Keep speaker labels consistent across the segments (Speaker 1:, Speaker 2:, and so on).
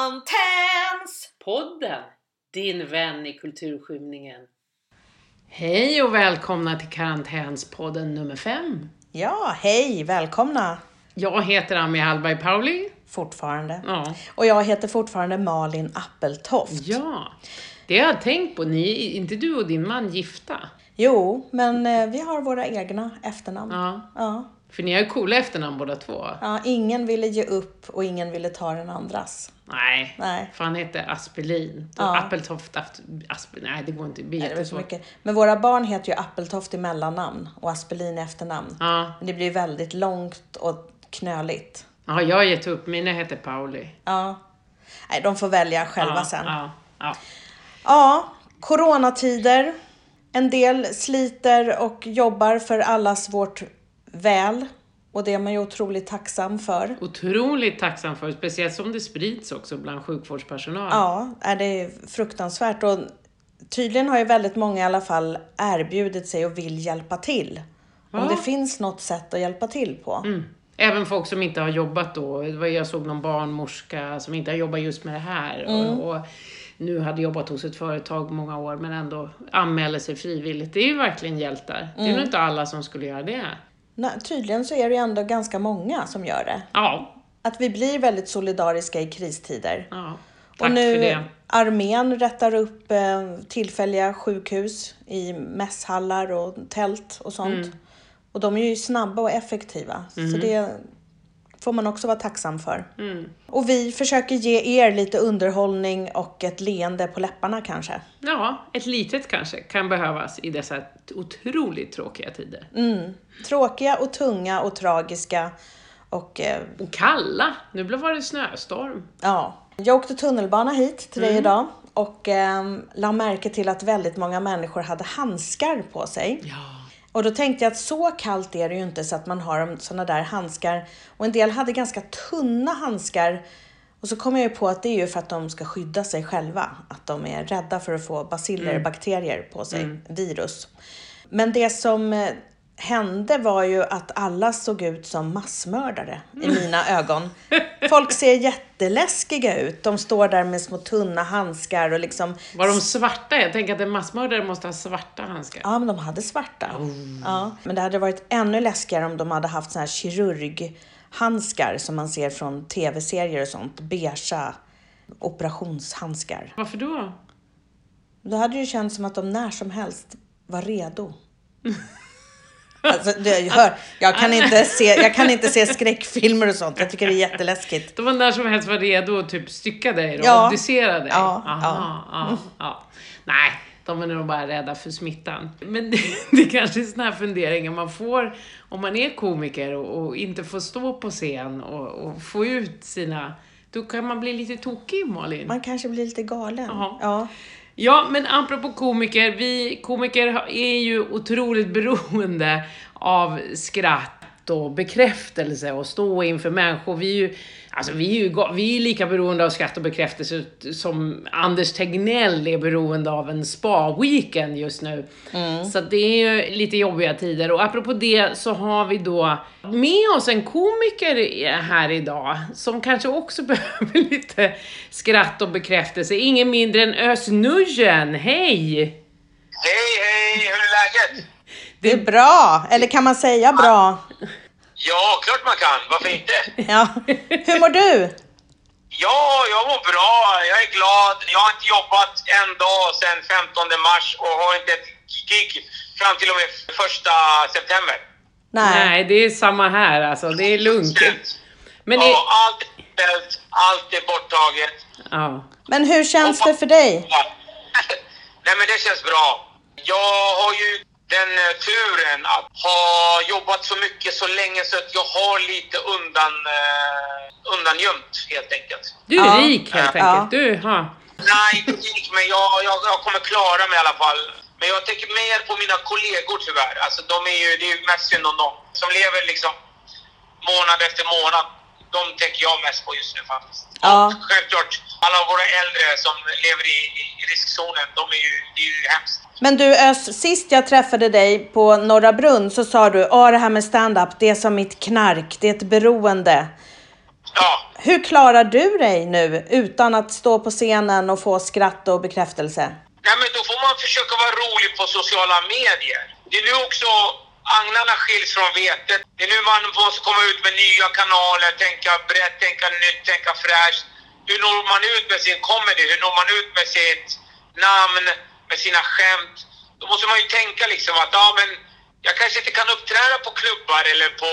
Speaker 1: Karantäns!
Speaker 2: Podden, din vän i kulturskymningen. Hej och välkomna till Karantänspodden nummer 5.
Speaker 1: Ja, hej, välkomna!
Speaker 2: Jag heter Ami Hallberg Pauli.
Speaker 1: Fortfarande.
Speaker 2: Ja.
Speaker 1: Och jag heter fortfarande Malin Appeltoft.
Speaker 2: ja, det har jag tänkt på. Ni, är inte du och din man gifta?
Speaker 1: Jo, men eh, vi har våra egna efternamn. Ja.
Speaker 2: Ja,
Speaker 1: Ja.
Speaker 2: för ni har ju coola efternamn båda två.
Speaker 1: ingen ville ge upp och ingen ville ta den andras.
Speaker 2: Nej,
Speaker 1: Nej.
Speaker 2: för han heter Aspelin.
Speaker 1: Ja.
Speaker 2: Ja. Appeltoft, Asp- Aspelin. Nej, det går inte. Det blir
Speaker 1: Nej, det var så
Speaker 2: jättesvårt.
Speaker 1: mycket. Men våra barn heter ju Appeltoft i mellannamn och Aspelin i efternamn.
Speaker 2: Ja.
Speaker 1: Men Det blir väldigt långt och knöligt.
Speaker 2: ja, jag har gett upp. Mina heter Pauli.
Speaker 1: Ja. Nej, de får välja själva
Speaker 2: Ja,
Speaker 1: sen.
Speaker 2: ja, ja.
Speaker 1: Ja, coronatider. En del sliter och jobbar för allas vårt väl. Och det är man ju otroligt tacksam för.
Speaker 2: Otroligt tacksam för, speciellt som det sprids också bland sjukvårdspersonal.
Speaker 1: Ja, är det är fruktansvärt. Och tydligen har ju väldigt många i alla fall erbjudit sig och vill hjälpa till. Om
Speaker 2: Ja.
Speaker 1: det finns något sätt att hjälpa till på.
Speaker 2: Mm. Även folk som inte har jobbat då. Det var- Jag såg någon barnmorska som inte har jobbat just med det här
Speaker 1: Mm.
Speaker 2: och, och nu hade jobbat hos ett företag många år men ändå anmäler sig frivilligt. Det är ju verkligen hjältar. Det
Speaker 1: Mm.
Speaker 2: är nog inte alla som skulle göra det.
Speaker 1: Nej, tydligen så är det ju ändå ganska många som gör det.
Speaker 2: Ja,
Speaker 1: Att vi blir väldigt solidariska i kristider.
Speaker 2: ja. tack
Speaker 1: Och nu
Speaker 2: för det.
Speaker 1: armén rättar upp eh, tillfälliga sjukhus i mässhallar och tält och sånt.
Speaker 2: Mm.
Speaker 1: Och de är ju snabba och effektiva. Så det får man också vara tacksam för.
Speaker 2: Mm.
Speaker 1: Och vi försöker ge er lite underhållning och ett leende på läpparna kanske.
Speaker 2: Ja, ett litet kanske kan behövas i dessa otroligt tråkiga tider.
Speaker 1: Mm. Tråkiga och tunga och tragiska. Och eh,
Speaker 2: Och kalla! Nu blev det snöstorm.
Speaker 1: Ja. Jag åkte tunnelbana hit till
Speaker 2: Mm.
Speaker 1: dig idag och eh, la märke till att väldigt många människor hade handskar på sig.
Speaker 2: Ja.
Speaker 1: Och då tänkte jag att så kallt är det ju inte så att man har sådana där handskar. Och en del hade ganska tunna handskar. Och så kom jag ju på att det är ju för att de ska skydda sig själva. Att de är rädda för att få baciller, bakterier på sig, virus. Men det som eh, hände var ju att alla såg ut som massmördare i mina ögon. Folk ser jätteläskiga ut. De står där med små tunna handskar och liksom...
Speaker 2: Var de svarta? Jag tänker att en massmördare måste ha svarta handskar.
Speaker 1: Ja, men de hade svarta. Ja, men det hade varit ännu läskigare om de hade haft såna här kirurghandskar som man ser från tv-serier och sånt. Beiga operationshandskar.
Speaker 2: Varför då?
Speaker 1: Då hade det ju känts som att de när som helst var redo. Alltså, du, jag, hör, jag, kan inte se, jag kan inte se skräckfilmer och sånt. Jag tycker det är jätteläskigt.
Speaker 2: De var när som helst var redo att typ stycka dig och
Speaker 1: Ja.
Speaker 2: obducera dig.
Speaker 1: Ja,
Speaker 2: Aha,
Speaker 1: ja.
Speaker 2: ja, ja. Nej, de är nog bara rädda för smittan. Men det, det kanske är sådana här funderingar man får om man är komiker och, och inte får stå på scen och, och få ut sina... Då kan man bli lite tokig, Malin.
Speaker 1: Man kanske blir lite galen.
Speaker 2: Jaha.
Speaker 1: Ja.
Speaker 2: Ja, men apropå komiker, vi komiker har- är ju otroligt beroende av skratt och bekräftelse och stå inför människor. Vi är ju, alltså vi är ju ga- vi är lika beroende av skratt och bekräftelse som Anders Tegnell är beroende av en spa-weekend just nu.
Speaker 1: Mm.
Speaker 2: Så att det är ju lite jobbiga tider. Och apropå det så har vi då med oss en komiker här idag som kanske också behöver lite skratt och bekräftelse. Ingen mindre än Özz Nujen. Hej!
Speaker 3: Hej, hej! Hur är läget?
Speaker 1: Det är bra. Eller kan man säga bra?
Speaker 3: Ja, klart man kan. Varför inte?
Speaker 1: Ja. Hur mår du?
Speaker 3: Ja, jag mår bra. Jag är glad. Jag har inte jobbat en dag sedan 15 mars och har inte ett gig fram till och med 1 september.
Speaker 1: Nej.
Speaker 2: Nej, det är samma här alltså. Det är lugnt.
Speaker 3: Slut.
Speaker 2: Men det,
Speaker 3: Ja, allt är ställt, allt är borttaget.
Speaker 2: ja.
Speaker 1: Men hur känns det för dig?
Speaker 3: Ja. Nej, men det känns bra. Jag har ju den eh, turen att ha jobbat så mycket så länge så att jag har lite undan, eh, undangömt helt enkelt.
Speaker 2: Du är
Speaker 1: Ja.
Speaker 2: rik helt
Speaker 1: Ja.
Speaker 2: enkelt. Du, ja.
Speaker 3: Nej, det gick men jag, jag, jag kommer klara mig i alla fall. Men jag tänker mer på mina kollegor tyvärr. Alltså, de är ju, det är ju mest synd om dem som lever liksom månad efter månad. De tänker jag mest på just nu faktiskt.
Speaker 1: Ja.
Speaker 3: Och självklart, alla våra äldre som lever i, i riskzonen, de är ju, det är ju hemskt.
Speaker 1: Men du Ös, sist jag träffade dig på Norra Brunn så sa du, ja det här med stand-up, det är som mitt knark, det är ett beroende.
Speaker 3: Ja.
Speaker 1: Hur klarar du dig nu utan att stå på scenen och få skratt och bekräftelse?
Speaker 3: Nej, men då får man försöka vara rolig på sociala medier. Det är nu också agnarna skiljs från vetet. Det är nu man måste komma ut med nya kanaler, tänka brett, tänka nytt, tänka fräscht. Hur når man ut med sin comedy? Hur når man ut med sitt namn, med sina skämt? Då måste man ju tänka liksom att ja, men jag kanske inte kan uppträda på klubbar eller på,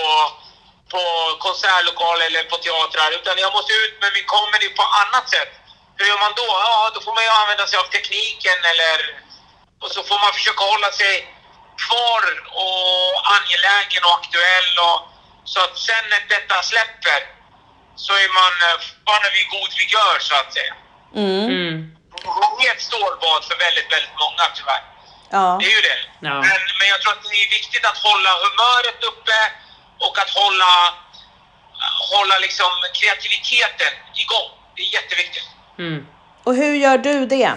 Speaker 3: på konsertlokaler eller på teatrar utan jag måste ut med min comedy på annat sätt. Hur gör man då? Ja, då får man ju använda sig av tekniken eller... Och så får man försöka hålla sig kvar och angelägen och aktuell och... Så att sen när detta släpper så är man eh, fortfarande vid god vigör så att säga.
Speaker 1: Mm.
Speaker 2: Mm.
Speaker 3: Det är ett stålbad för väldigt, väldigt många tyvärr.
Speaker 1: Ja.
Speaker 3: Det är ju det.
Speaker 2: Ja.
Speaker 3: Men, men jag tror att det är viktigt att hålla humöret uppe och att hålla, hålla liksom kreativiteten igång. Det är jätteviktigt.
Speaker 2: Mm.
Speaker 1: Och hur gör du det?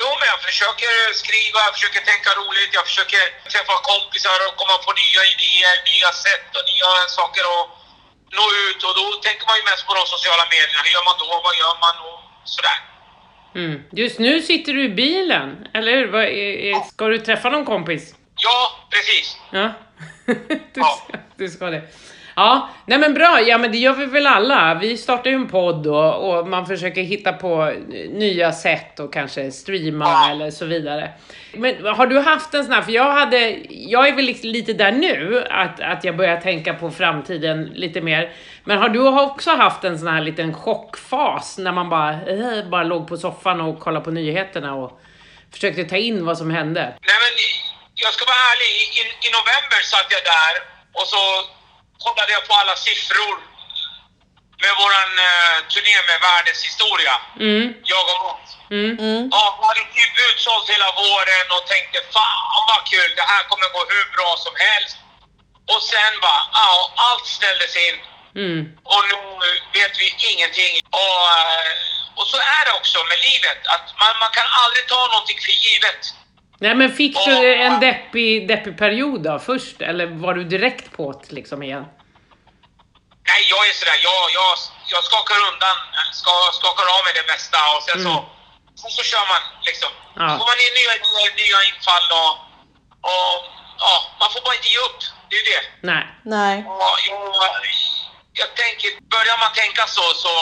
Speaker 3: Jo, men jag försöker skriva, jag försöker tänka roligt, jag försöker träffa kompisar och komma på nya idéer, nya sätt och nya saker och nå ut. Och då tänker man ju mest på de sociala medierna. Hur gör man då? Vad gör man? Och sådär.
Speaker 2: Mm. Just nu sitter du i bilen, eller hur? Vad är- är- Ska du träffa någon kompis?
Speaker 3: Ja, precis.
Speaker 2: Ja. Du,
Speaker 3: Ja.
Speaker 2: ska, du ska det. Ja, nej men bra. Ja men det gör vi väl alla. Vi startar ju en podd och, och man försöker hitta på eh, nya sätt och kanske streama
Speaker 3: Ja.
Speaker 2: eller så vidare. Men har du haft en sån här, för jag hade, jag är väl liksom lite där nu, att, att jag börjar tänka på framtiden lite mer. Men har du också haft en sån här liten chockfas när man bara, eh, bara låg på soffan och kollade på nyheterna och försökte ta in vad som hände?
Speaker 3: Nej, men i- jag ska vara ärlig. I, i, I november satt jag där och så kollade jag på alla siffror med våran eh, turné med världens historia.
Speaker 2: Mm,
Speaker 3: Jag och Mats.
Speaker 2: mm,
Speaker 3: Ja, man hade typ utsålt hela våren och tänkte fan vad kul, det här kommer gå hur bra som helst. Och sen bara, ja, allt ställdes in
Speaker 2: mm.
Speaker 3: och nu vet vi ingenting. Och, eh, och så är det också med livet, att man, man kan aldrig ta någonting för givet.
Speaker 2: Nej men fick du en deppig, deppig period då först? Eller var du direkt på det liksom igen?
Speaker 3: Nej, jag är sådär, jag, jag, jag skakar undan, ska, skakar av mig det mesta och sen så, så, så kör man liksom.
Speaker 2: Ja.
Speaker 3: Så får man in nya, idéer, nya infall och, och ja, man får bara inte ge upp. Det är ju det.
Speaker 2: Nej.
Speaker 1: Nej.
Speaker 3: Ja, jag, jag tänker, börjar man tänka så, så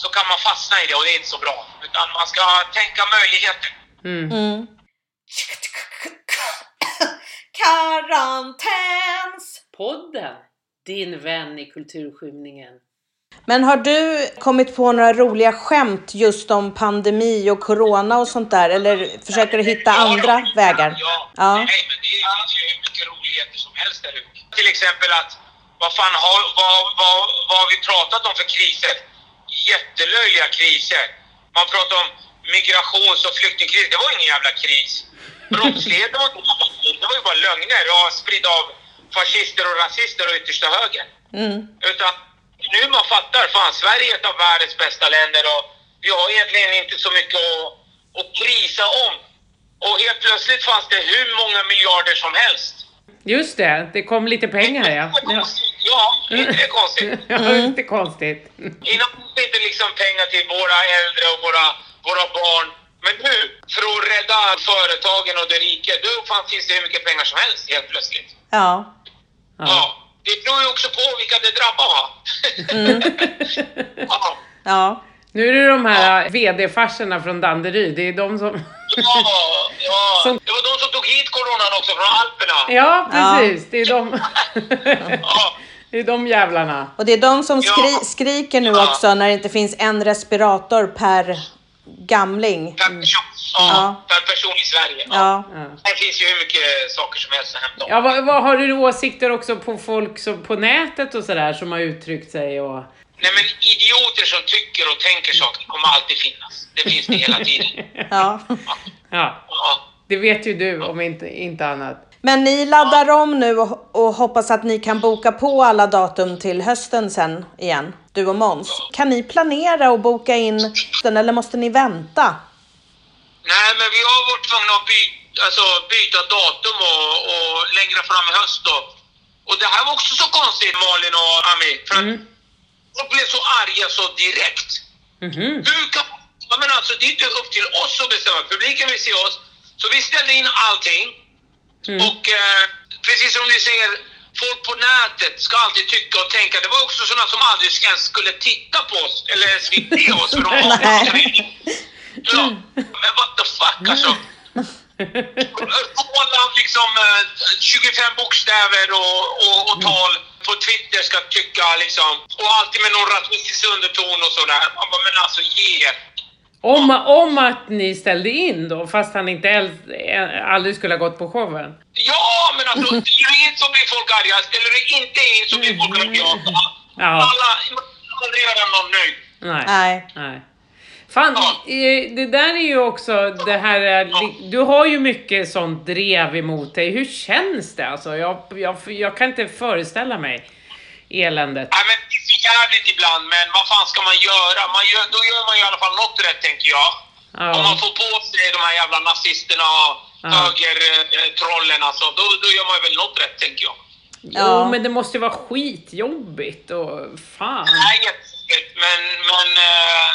Speaker 3: så kan man fastna i det och det är inte så bra. Utan man ska tänka möjligheter.
Speaker 2: Mm.
Speaker 1: Mm.
Speaker 4: Karantäns!
Speaker 2: Podden, din vän i kulturskymningen.
Speaker 1: Men har du kommit på några roliga skämt just om pandemi och corona och sånt där? Eller försöker du hitta andra vägar?
Speaker 3: Ja,
Speaker 1: Ja.
Speaker 3: Nej, men det finns ju hur mycket roligheter som helst där ute. Till exempel att, vad fan har, vad, vad, vad har vi pratat om för kriser? Jättelöjliga kriser. Man pratar om migrations och flyktingkris. Det var ingen jävla kris. Brottslighet, det var, inte brottslighet. det var ju bara lögner och spridd av fascister och rasister och yttersta höger.
Speaker 1: Mm.
Speaker 3: Utan nu man fattar, fan Sverige är ett av världens bästa länder och vi har egentligen inte så mycket att, att krisa om. Och helt plötsligt fanns det hur många miljarder som helst.
Speaker 2: Just det, det kom lite pengar ja.
Speaker 3: Det är konstigt. Ja, inte det är konstigt.
Speaker 2: Ja, inte konstigt.
Speaker 3: Innan fanns det inte liksom pengar till våra äldre och våra, våra barn. Men nu, för att rädda företagen och det rika, då fan finns det hur mycket pengar som helst helt plötsligt.
Speaker 1: Ja.
Speaker 3: Ja.
Speaker 2: Ja.
Speaker 3: Det beror ju också på vilka det drabbar. va?
Speaker 2: Mm.
Speaker 3: ja.
Speaker 1: Ja.
Speaker 2: Nu är det de här VD-farserna från Danderyd, det är de som...
Speaker 3: Ja, ja.
Speaker 2: Som-
Speaker 3: det var de som tog hit coronan också från Alperna.
Speaker 2: Ja, precis. Det är de...
Speaker 3: Ja.
Speaker 2: Det är de jävlarna.
Speaker 1: Och det är de som skri
Speaker 3: Ja.
Speaker 1: skriker nu
Speaker 3: Ja.
Speaker 1: också när det inte finns en respirator per gamling.
Speaker 3: Per, person, ja,
Speaker 1: Ja.
Speaker 3: per person i Sverige. Ja.
Speaker 1: Ja.
Speaker 2: Ja.
Speaker 3: Det finns ju hur mycket saker som helst att hämta om.
Speaker 2: Ja, vad, vad har du åsikter också på folk som, på nätet och sådär som har uttryckt sig och...
Speaker 3: Nej men idioter som tycker och tänker saker kommer alltid finnas. Det finns det hela tiden.
Speaker 1: ja.
Speaker 2: Ja,
Speaker 3: Ja.
Speaker 2: det vet ju du om inte, inte annat.
Speaker 1: Men ni laddar om nu och, och hoppas att ni kan boka på alla datum till hösten sen igen, du och Måns. Kan ni planera och boka in den eller måste ni vänta?
Speaker 3: Nej men vi har varit tvungna att byta, alltså, byta datum och, och längre
Speaker 2: Mm.
Speaker 3: fram i höst då. Och det här var också så konstigt Malin och Ami. För att då så arga så direkt.
Speaker 2: Mhm.
Speaker 3: Hur kan... Ja, Men alltså, det är inte upp till oss att bestämma. Publiken vill se oss. Så vi ställde in allting. Och eh, precis som du säger, folk på nätet ska alltid tycka och tänka. Det var också sådana som aldrig ens skulle titta på oss eller ens vill se oss. För de
Speaker 1: Nej.
Speaker 3: ja. Men what the fuck alltså. Roland liksom eh, 25 bokstäver och, och, och tal på Twitter ska tycka liksom. Och alltid med någon rasistisk underton och sådär. Man bara, men alltså ge er.
Speaker 2: Om, om att ni ställde in då, fast han inte äl- ä- aldrig skulle ha gått på showen.
Speaker 3: Ja, men alltså ställer du in så blir folk arga. Ställer du inte in så blir folk rabiata.
Speaker 2: Ja.
Speaker 3: Alla, man kan aldrig göra någon nöjd.
Speaker 2: Nej.
Speaker 1: Nej.
Speaker 2: Nej. Fan,
Speaker 3: Ja.
Speaker 2: eh, det där är ju också det här... är- li- Du har ju mycket sånt drev emot dig. Hur känns det alltså? Jag, jag, jag kan inte föreställa mig eländet.
Speaker 3: Nej, men det är för jävligt ibland, men vad fan ska man göra? Man gör, då gör man ju i alla fall något rätt, tänker jag.
Speaker 2: Ja.
Speaker 3: Om man får på sig de här jävla nazisterna och
Speaker 2: Ja.
Speaker 3: högertrollen, alltså, då, då gör man ju väl något rätt, tänker jag.
Speaker 1: Ja.
Speaker 2: Jo, men det måste ju vara skitjobbigt och fan.
Speaker 3: Nej, jättesäkert, men, men, eh,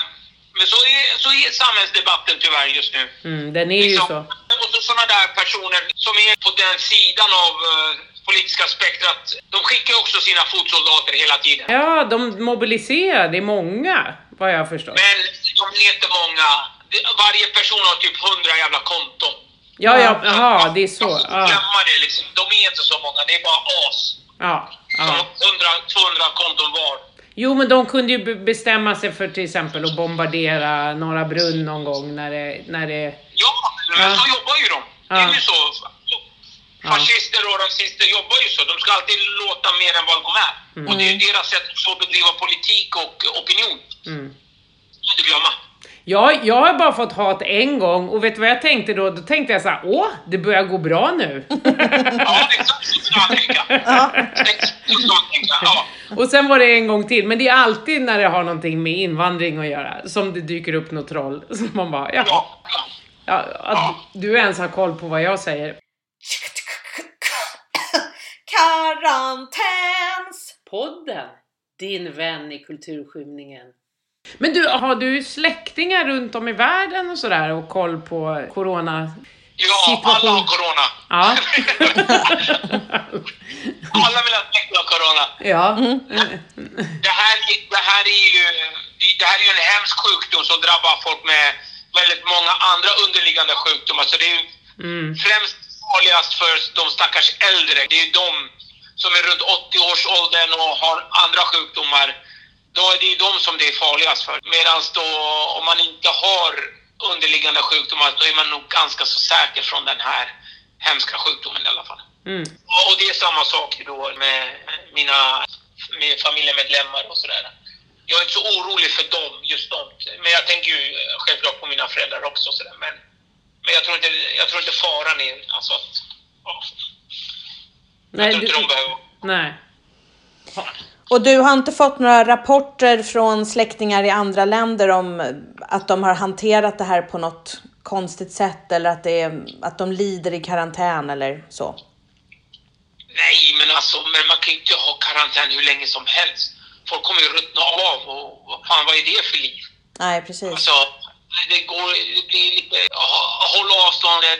Speaker 3: men så, är, så är samhällsdebatten tyvärr just nu.
Speaker 2: Mm, den är ju
Speaker 3: Liksom,
Speaker 2: så.
Speaker 3: Och så sådana där personer som är på den sidan av eh, politiska spektrat. De skickar ju också sina fotsoldater hela tiden.
Speaker 2: Ja, de mobiliserar. Det är många, vad jag har förstått.
Speaker 3: Men de är inte många. Det- Varje person har typ 100 jävla konton.
Speaker 2: Ja, ja,
Speaker 1: Ja.
Speaker 2: jaha, det är så.
Speaker 3: Man får
Speaker 2: Ja,
Speaker 3: glömma det liksom. De är inte så många. Det är bara as.
Speaker 2: ja,
Speaker 3: Som
Speaker 2: ja.
Speaker 3: har 100, 200 konton var.
Speaker 2: Jo, men de kunde ju be- bestämma sig för till exempel att bombardera Norra Brunn någon gång när det... När det
Speaker 3: Ja, men
Speaker 2: Ja.
Speaker 3: så jobbar ju de. Det är
Speaker 2: Ja.
Speaker 3: ju så. Fascister och rasister jobbar ju så. De ska alltid låta mer än vad de är. Och det är ju deras sätt att bedriva politik och opinion.
Speaker 2: mm.
Speaker 3: Inte glömma.
Speaker 2: jag, jag har bara fått hat en gång och vet du vad jag tänkte då? Då tänkte jag så här, åh, det börjar gå bra nu.
Speaker 3: Ja, det är sant. Så ska man tänka. Så ska man tänka. Ja.
Speaker 2: Och sen var det en gång till, men det är alltid när det har någonting med invandring att göra som det dyker upp något troll. Så man bara, jaha.
Speaker 3: Ja. ja.
Speaker 2: Ja, att du ens har koll på vad jag säger.
Speaker 4: Karantäns!
Speaker 2: Podden, din vän i kulturskymningen. Men du, har du släktingar runt om i världen och sådär och koll på corona?
Speaker 3: Ja, alla har corona.
Speaker 2: Ja.
Speaker 3: Alla vill att Mecka har corona.
Speaker 2: ja.
Speaker 3: Det här, är- det, här är ju, det här är ju en hemsk sjukdom som drabbar folk med väldigt många andra underliggande sjukdomar. Så det är ju
Speaker 2: Mm.
Speaker 3: främst farligast för de stackars äldre. Det är ju de som är runt 80-årsåldern och har andra sjukdomar. Då är det ju de som det är farligast för. Medan då om man inte har underliggande sjukdomar då är man nog ganska så säker från den här hemska sjukdomen i alla fall.
Speaker 2: Mm.
Speaker 3: Och det är samma sak då med mina med familjemedlemmar och sådär. Jag är inte så orolig för dem, just dem. Men jag tänker ju eh, självklart på mina föräldrar också och sådär. Men, men jag, tror inte, jag tror inte faran är... Alltså att, ja, jag
Speaker 2: Nej,
Speaker 3: tror
Speaker 2: du,
Speaker 3: inte de behöver...
Speaker 2: nej.
Speaker 1: Och du har inte fått några rapporter från släktingar i andra länder om att de har hanterat det här på något konstigt sätt eller att, det är, att de lider i karantän eller så?
Speaker 3: Nej, men alltså, men man kan ju inte ha karantän hur länge som helst. Folk kommer ju ruttna av och vad fan, vad är det för liv?
Speaker 1: Nej, precis.
Speaker 3: Alltså, det går, det blir lite, ha- håll avståndet,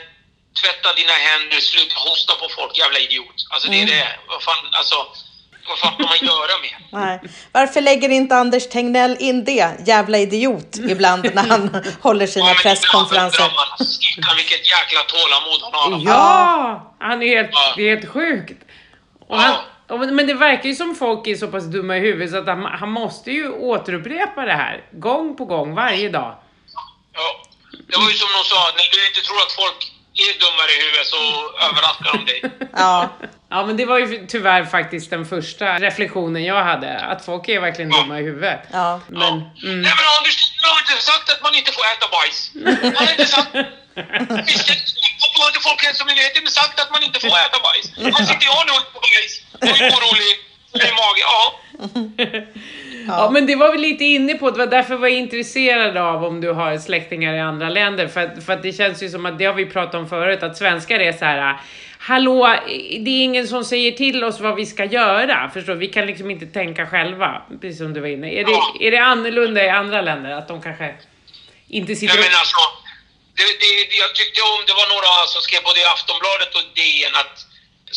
Speaker 3: tvätta dina händer, sluta hosta på folk, jävla idiot. Alltså det är det. Vad fan, alltså, vad fan ska man göra med?
Speaker 1: Nej. Varför lägger inte Anders Tegnell in det, jävla idiot, ibland när han håller sina
Speaker 3: men
Speaker 1: presskonferenser?
Speaker 3: ibland undrar man, alltså, Stickan, vilket jäkla tålamod han har.
Speaker 2: Mm. Ja! Han är helt,
Speaker 3: Ja.
Speaker 2: det är helt sjukt. Och han, och- men det verkar ju som folk är så pass dumma i huvudet så att han, han måste ju återupprepa det här gång på gång varje dag.
Speaker 3: Ja. Det var ju som de sa, när du inte tror att folk är dummare i huvudet så överraskar de dig.
Speaker 1: Ja.
Speaker 2: Ja men det var ju tyvärr faktiskt den första reflektionen jag hade, att folk är verkligen dumma i huvudet.
Speaker 1: Ja.
Speaker 2: Men,
Speaker 3: Nej men Anders, du har inte sagt att man inte får äta bajs. Han har inte sagt... Visst, Varför har inte Folkhälsomyndigheten sagt att man inte får äta bajs? Här sitter jag nu och äter bajs och är orolig i magen. Ja.
Speaker 2: ja, men det var vi lite inne på, det var därför jag var intresserad av om du har släktingar i andra länder. För att, för att det känns ju som att, det har vi pratat om förut, att svenskar är så här. hallå, det är ingen som säger till oss vad vi ska göra. Förstår du? Vi kan liksom inte tänka själva, precis som du var inne. Är
Speaker 3: Ja.
Speaker 2: det, är det annorlunda i andra länder? Att de kanske inte sitter
Speaker 3: Nej,
Speaker 2: och...
Speaker 3: men alltså, det, det, det, jag tyckte om, det var några som skrev både i Aftonbladet och DN att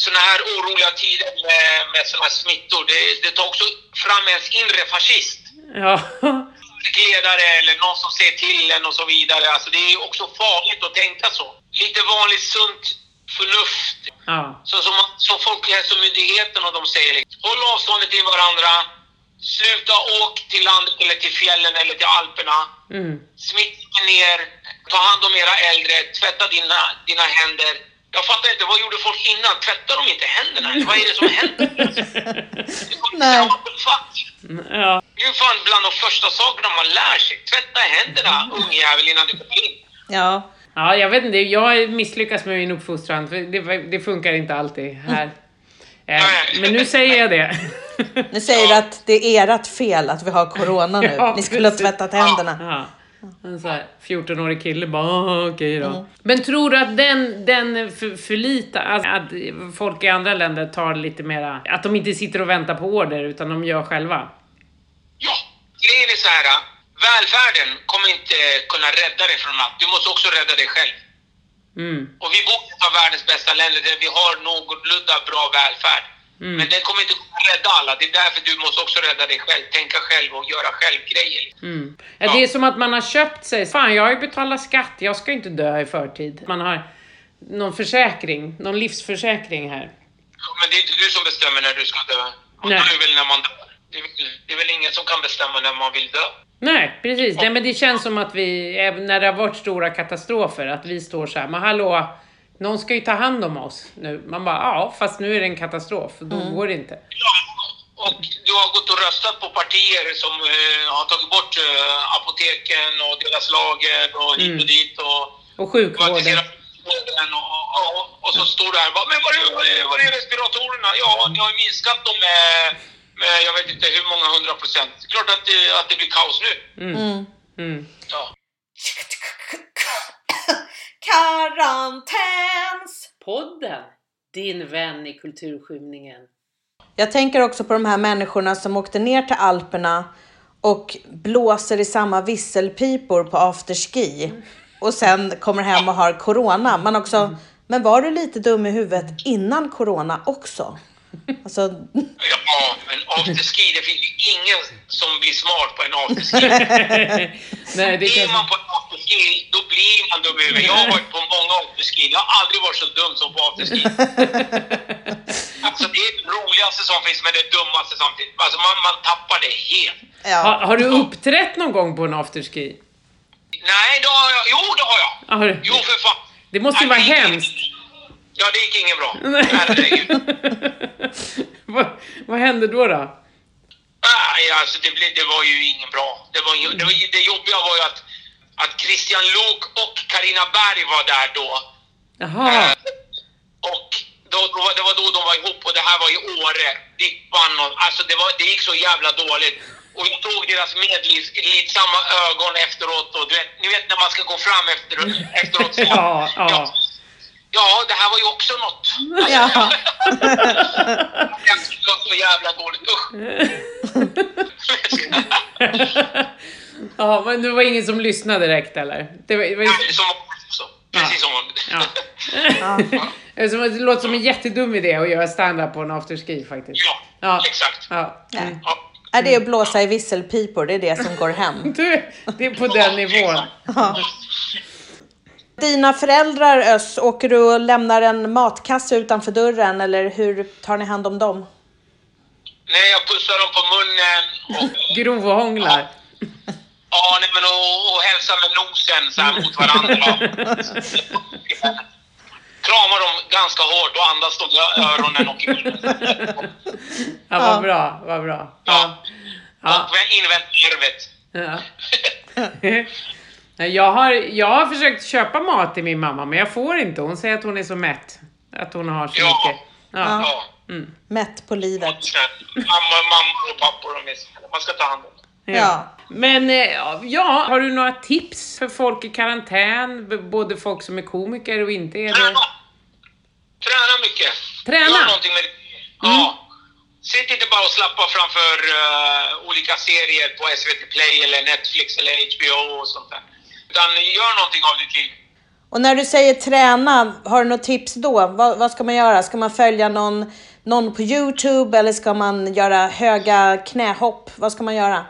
Speaker 3: såna här oroliga tider med, med såna här smittor, det, det tar också fram ens inre fascist.
Speaker 2: Ja.
Speaker 3: Ledare eller någon som säger till en och så vidare. Alltså det är också farligt att tänka så. Lite vanligt sunt förnuft.
Speaker 2: ja.
Speaker 3: Så som, som Folkhälsomyndigheten och de säger liksom, håll avståndet till varandra, sluta åk till landet eller till fjällen eller till Alperna.
Speaker 2: Mm.
Speaker 3: Smitta ner, ta hand om era äldre, tvätta dina, dina händer. Jag fattar inte, vad gjorde folk innan? Tvättar de inte händerna? Vad är det som händer?
Speaker 1: Nej.
Speaker 3: What the fuck?
Speaker 2: ja.
Speaker 3: Det är ju fan bland de första sakerna man lär sig. Tvätta händerna, ungjävel, innan du kommer in.
Speaker 1: Ja,
Speaker 2: Ja, jag vet inte. Jag misslyckas med min uppfostran. för Det, det funkar inte alltid här. Eh,
Speaker 3: Nej.
Speaker 2: Men nu säger jag det.
Speaker 1: nu säger du att det är ert fel att vi har corona nu.
Speaker 2: Ja,
Speaker 1: Ni skulle ha
Speaker 2: precis.
Speaker 1: tvättat händerna.
Speaker 2: Ja. En så här 14-årig kille bara, "Ah, okej då. Men tror du att den, den för, förlita, alltså att folk i andra länder tar lite mera, att de inte sitter och väntar på order utan de gör själva?
Speaker 3: Ja, grejen är så här. Välfärden kommer inte kunna rädda dig från allt. Du måste också rädda dig själv.
Speaker 2: Mm.
Speaker 3: Och vi bor i ett av världens bästa länder där vi har någorlunda bra välfärd.
Speaker 2: Mm.
Speaker 3: Men den kommer inte kunna rädda alla. Det är därför du måste också rädda dig själv, tänka själv och göra själv grejer.
Speaker 2: Mm. Ja, det är som att man har köpt sig. Fan, jag har ju betalat skatt. Jag ska inte dö i förtid. Man har någon försäkring, någon livsförsäkring här.
Speaker 3: Men det är inte du som bestämmer när du ska dö. Man
Speaker 2: Nej.
Speaker 3: dör väl när man dör. Det är, väl- det är väl ingen som kan bestämma när man vill dö.
Speaker 2: Nej, precis. Nej, men det känns som att vi, även när det har varit stora katastrofer, att vi står så här, men hallå, någon ska ju ta hand om oss nu. Man bara, ja, fast nu är det en katastrof. Då går det inte.
Speaker 3: Ja, och du har gått och röstat på partier som eh, har tagit bort eh, apoteken och deras lager och hit
Speaker 2: Mm.
Speaker 3: och dit och
Speaker 2: Och sjukvården.
Speaker 3: privatiserat sjukvården och, och, och, och så står du här och bara, men var är, var är, var är respiratorerna? Ja, ni har ju minskat dem med, med jag vet inte hur många hundra procent. Det är klart att det, att det blir kaos nu.
Speaker 1: Mm.
Speaker 2: Mm.
Speaker 3: Ja.
Speaker 4: Karantäns!
Speaker 2: Podden, din vän i kulturskymningen.
Speaker 1: Jag tänker också på de här människorna som åkte ner till Alperna och blåser i samma visselpipor på afterski och sen kommer hem och har corona. Man också, men var du lite dum i huvudet innan corona också? Alltså,
Speaker 3: Ja, men afterski, det finns ju ingen som blir smart på en afterski.
Speaker 2: Nej, det
Speaker 3: Är
Speaker 2: känns...
Speaker 3: man på en afterski, då blir man dum i huvudet. Jag har varit på många afterski. Jag har aldrig varit så dum som på afterski. Alltså, det är det roligaste som finns, men det dummaste samtidigt. Alltså, man, man tappar det helt.
Speaker 2: Har,
Speaker 1: ja.
Speaker 2: har du uppträtt någon gång på en afterski? Ah,
Speaker 3: Nej, det har jag. Jo, det har jag.
Speaker 2: Har du-
Speaker 3: Jo, för fan.
Speaker 2: Det måste ju vara
Speaker 3: Nej, det gick-
Speaker 2: hemskt.
Speaker 3: Ja, det gick ingen bra. Herregud.
Speaker 2: vad, vad hände då? då?
Speaker 3: Nej, alltså det, blev, det var ju ingen bra. Det, var, ingen- det, var, ju- det jobbiga var ju att, att Christian Lok och Karina Berg var där då.
Speaker 2: Jaha.
Speaker 3: Eh, Och då, då, var- det var då de var ihop och det här var i Åre. Dippan och, alltså det, var, det gick så jävla dåligt. Och jag såg deras medlidsamma ögon efteråt och du vet, ni vet när man ska gå fram efter, efteråt. Så,
Speaker 2: Ja, ja.
Speaker 3: ja, det här var ju också något.
Speaker 1: ja.
Speaker 3: Det var så jävla dåligt, usch.
Speaker 2: ja, men det var ingen som lyssnade direkt eller? Det, var, det, var,
Speaker 3: Nej, som vanligt så. Precis som vanligt.
Speaker 2: ja. det, är som, det låter som en jättedum idé att göra stand-up på en afterski faktiskt.
Speaker 3: Ja,
Speaker 2: Ja.
Speaker 3: exakt.
Speaker 2: Ja. Mm.
Speaker 1: Nej.
Speaker 3: Ja.
Speaker 1: Är det är att blåsa i visselpipor, det är det som går hem.
Speaker 2: Du, det är på den nivån.
Speaker 1: Dina föräldrar Ös, åker du och lämnar en matkasse utanför dörren eller hur tar ni hand om dem?
Speaker 3: Nej, jag pussar dem på munnen och,
Speaker 2: Grovhånglar.
Speaker 3: ja, nej, men och, och hälsar med nosen så här mot varandra. Kramar dem ganska hårt och andas dem i öronen och i munnen.
Speaker 2: Ja, vad bra, vad bra. Ja. Ja.
Speaker 3: Och inväntar nervet.
Speaker 2: Ja. Nej, Jag har, jag har försökt köpa mat till min mamma, men jag får inte. Hon säger att hon är så mätt. Att hon har så
Speaker 3: Ja.
Speaker 2: mycket. Ja. Mm.
Speaker 3: Ja.
Speaker 1: Mätt på livet.
Speaker 3: Mamma, mamma och pappor och miss. Man ska ta hand om dem.
Speaker 1: Ja.
Speaker 2: Men eh, ja, har du några tips för folk i karantän? B- Både folk som är komiker och inte är det?
Speaker 3: Träna mycket.
Speaker 2: Träna?
Speaker 3: Gör någonting med Ja. Sitt inte bara och slappa framför eh, olika serier på SVT Play eller Netflix eller HBO och sånt där. Utan gör någonting av ditt liv.
Speaker 1: Och när du säger träna, har du något tips då? Vad, vad ska man göra? Ska man följa någon, någon på Youtube eller ska man göra höga knähopp? Vad ska man göra?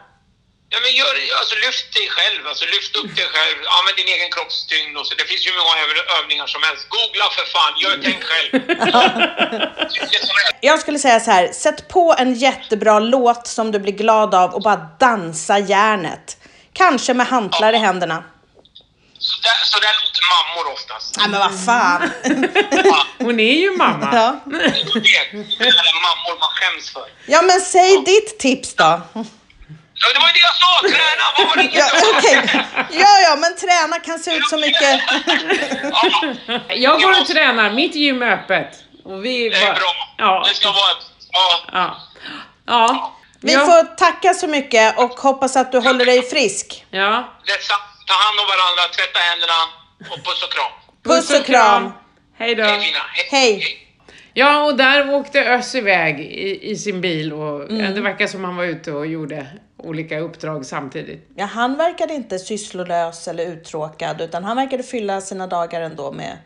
Speaker 3: Ja, men gör, alltså, lyft dig själv, alltså, lyft upp dig själv, använd din egen kroppstyngd och så. Det finns ju hur många öv- övningar som helst. Googla för fan, gör tänk själv. Vilket som helst.
Speaker 1: Jag skulle säga så här, sätt på en jättebra låt som du blir glad av och bara dansa järnet. Kanske med hantlar i händerna.
Speaker 3: Så där, så där låter mammor oftast.
Speaker 1: Nej men vad fan.
Speaker 3: Ja,
Speaker 2: Hon är ju mamma.
Speaker 1: Ja.
Speaker 3: du vet, det är alla mammor man skäms för.
Speaker 1: Ja men säg ditt tips då.
Speaker 3: Ja, det var ju det jag sa! Träna! Vad var det
Speaker 1: Ja,
Speaker 3: jag sa?
Speaker 1: okej. ja, ja men träna kan se ut så mycket.
Speaker 3: Ja,
Speaker 2: Jag går och tränar, mitt gym är öppet. Och vi
Speaker 3: det är
Speaker 2: bara-
Speaker 3: bra.
Speaker 2: Ja.
Speaker 3: Det ska vara... Ja.
Speaker 2: Ja. ja.
Speaker 1: Vi
Speaker 2: ja.
Speaker 1: får tacka så mycket och hoppas att du håller dig frisk.
Speaker 2: Ja.
Speaker 3: Detta, ta hand om varandra, tvätta händerna och puss och kram.
Speaker 1: Puss och kram.
Speaker 2: Hej då.
Speaker 3: Hej fina!
Speaker 1: Hej.
Speaker 2: Ja, och där åkte Özz iväg i, i sin bil och ja, det verkar som han var ute och gjorde olika uppdrag samtidigt.
Speaker 1: Ja, han verkade inte sysslolös eller uttråkad utan han verkade fylla sina dagar ändå med,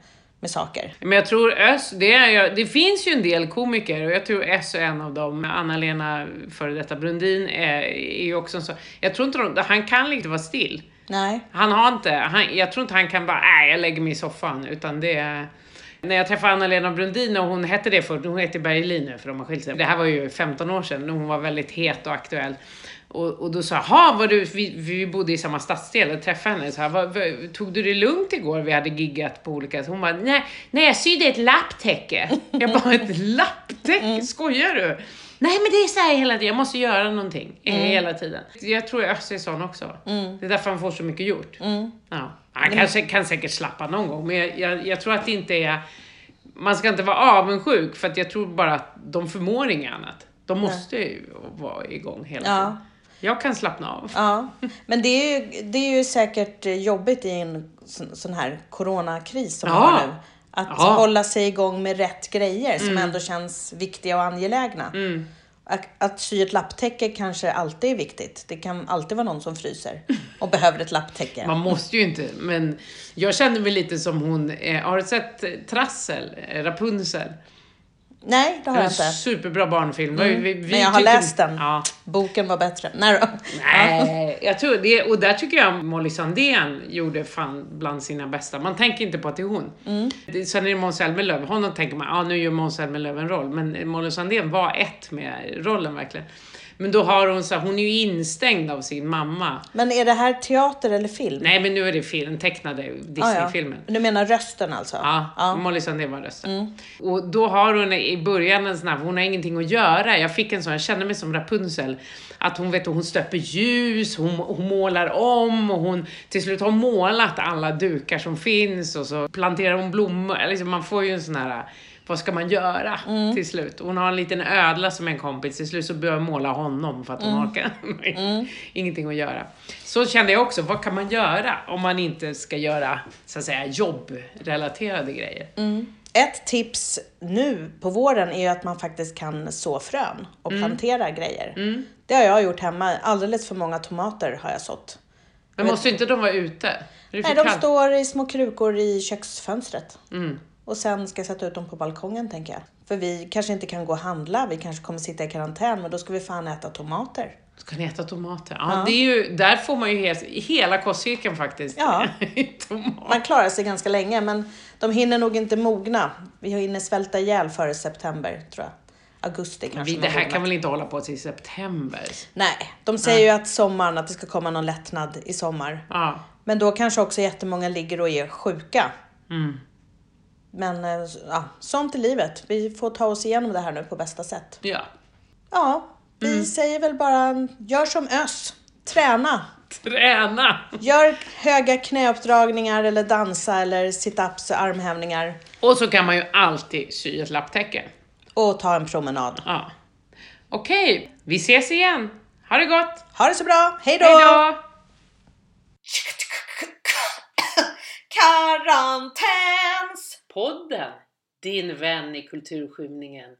Speaker 1: med saker.
Speaker 2: Men jag tror Özz, det, är, jag- det finns ju en del komiker och jag tror S är en av dem. Anna-Lena, före detta Brundin, är, är ju också en sån. Jag tror inte de, han kan inte vara still.
Speaker 1: Nej.
Speaker 2: Han har inte, han, jag tror inte han kan bara, nej jag lägger mig i soffan. Utan det är, när jag träffade Anna-Lena Brundin, och hon hette det förut, hon heter Bergelin nu för de har skilt sig. Det här var ju 15 år sedan, när hon var väldigt het och aktuell. Och, och då sa jag, "Ha, var du, vi, vi bodde i samma stadsdel och träffade henne. Så här, "Vad- vad- tog du det lugnt igår? Vi hade giggat på olika... Hon bara, nej, nej jag sydde ett lapptäcke. Jag bara, ett lapptäcke? Skojar du? Nej men det är så här hela tiden, jag måste göra någonting
Speaker 1: Mm.
Speaker 2: eh, hela tiden. Jag tror Özz är sån också. Det är därför han får så mycket gjort.
Speaker 1: Mm.
Speaker 2: Ja. Han kanske, kan säkert slappa någon gång, men jag, jag, jag tror att det inte är... Man ska inte vara avundsjuk, för att jag tror bara att de förmår inget annat. De måste ju vara igång hela
Speaker 1: Ja.
Speaker 2: tiden. Jag kan slappna av.
Speaker 1: Ja, men det är ju, det är ju säkert jobbigt i en sån, sån här coronakris som
Speaker 2: Ja.
Speaker 1: vi har nu. Att
Speaker 2: Ja. Mm.
Speaker 1: hålla sig igång med rätt grejer som ändå känns viktiga och angelägna. Att, att sy ett lapptäcke kanske alltid är viktigt. Det kan alltid vara någon som fryser och behöver ett lapptäcke.
Speaker 2: Man måste ju inte, men jag kände mig lite som hon, eh, har du sett eh, Trassel, Eh, Rapunzel?
Speaker 1: Nej, det har
Speaker 2: Det
Speaker 1: jag
Speaker 2: är en
Speaker 1: inte. Mm.
Speaker 2: superbra barnfilm. Det var ju- Vi, vi
Speaker 1: Men jag har
Speaker 2: tyckte-
Speaker 1: läst den.
Speaker 2: Ja.
Speaker 1: Boken var bättre. Nej då.
Speaker 2: Nej, Eh, jag tror det, och där tycker jag Molly Sandén gjorde fan bland sina bästa. Man tänker inte på att det är hon.
Speaker 1: Mm.
Speaker 2: Det- Sen är det Måns Zelmerlöw, honom tänker man, ja ah, nu gör Måns Zelmerlöw en roll, men Molly Sandén var ett med rollen verkligen. Men då har hon så här, hon är ju instängd av sin mamma.
Speaker 1: Men är det här teater eller film?
Speaker 2: Nej men nu är det film, tecknade
Speaker 1: Ah, ja.
Speaker 2: Disney-filmen.
Speaker 1: Du menar rösten alltså?
Speaker 2: Ja, Molly Sandén var rösten. Och då har hon i början en sån här, hon har ingenting att göra. Jag fick en sån, jag kände mig som Rapunzel. Att hon vet, hon stöper ljus, hon, hon målar om och hon till slut har målat alla dukar som finns och så planterar hon blommor. Eller Liksom, man får ju en sån här, vad ska man göra till slut? Hon har en liten ödla som är en kompis, till slut så börjar jag måla honom för att hon orkar ingenting att göra. Så kände jag också, vad kan man göra om man inte ska göra så att säga jobbrelaterade grejer?
Speaker 1: Ett tips nu på våren är ju att man faktiskt kan så frön och
Speaker 2: Mm.
Speaker 1: plantera grejer. Det har jag gjort hemma. Alldeles för många tomater har jag sått.
Speaker 2: Men måste inte de vara ute? Är det
Speaker 1: Nej, de
Speaker 2: för kallt? Mm.
Speaker 1: står i små krukor i köksfönstret. Och sen ska jag sätta ut dem på balkongen tänker jag. För vi kanske inte kan gå och handla, vi kanske kommer sitta i karantän, men då ska vi fan äta tomater.
Speaker 2: Ska ni äta tomater? Ja, Det är ju, där får man ju helt, hela kostcirkeln faktiskt.
Speaker 1: Ja.
Speaker 2: Tomat.
Speaker 1: Man klarar sig ganska länge, men de hinner nog inte mogna. Vi hinner svälta ihjäl före september, tror jag. Augusti kanske.
Speaker 2: Vi,
Speaker 1: de
Speaker 2: det här
Speaker 1: mognar.
Speaker 2: kan väl inte hålla på till september?
Speaker 1: Nej, de säger ju att sommaren, att det ska komma någon lättnad i sommar.
Speaker 2: Ja.
Speaker 1: Men då kanske också jättemånga ligger och är sjuka.
Speaker 2: Mm.
Speaker 1: Men eh, ja, sånt är livet. Vi får ta oss igenom det här nu på bästa sätt.
Speaker 2: ja.
Speaker 1: Ja, vi
Speaker 2: Mm.
Speaker 1: säger väl bara gör som ös. Träna.
Speaker 2: Träna!
Speaker 1: Gör höga knäuppdragningar eller dansa eller sit-ups och armhävningar.
Speaker 2: Och så kan man ju alltid sy ett lapptäcke.
Speaker 1: Och ta en promenad.
Speaker 2: Ja. Okej, vi ses igen. Ha det gott!
Speaker 1: Ha det så bra. Hej
Speaker 2: Hej
Speaker 1: då!
Speaker 2: då!
Speaker 1: Karantänspodden!
Speaker 2: Podden! Din vän i kulturskymningen.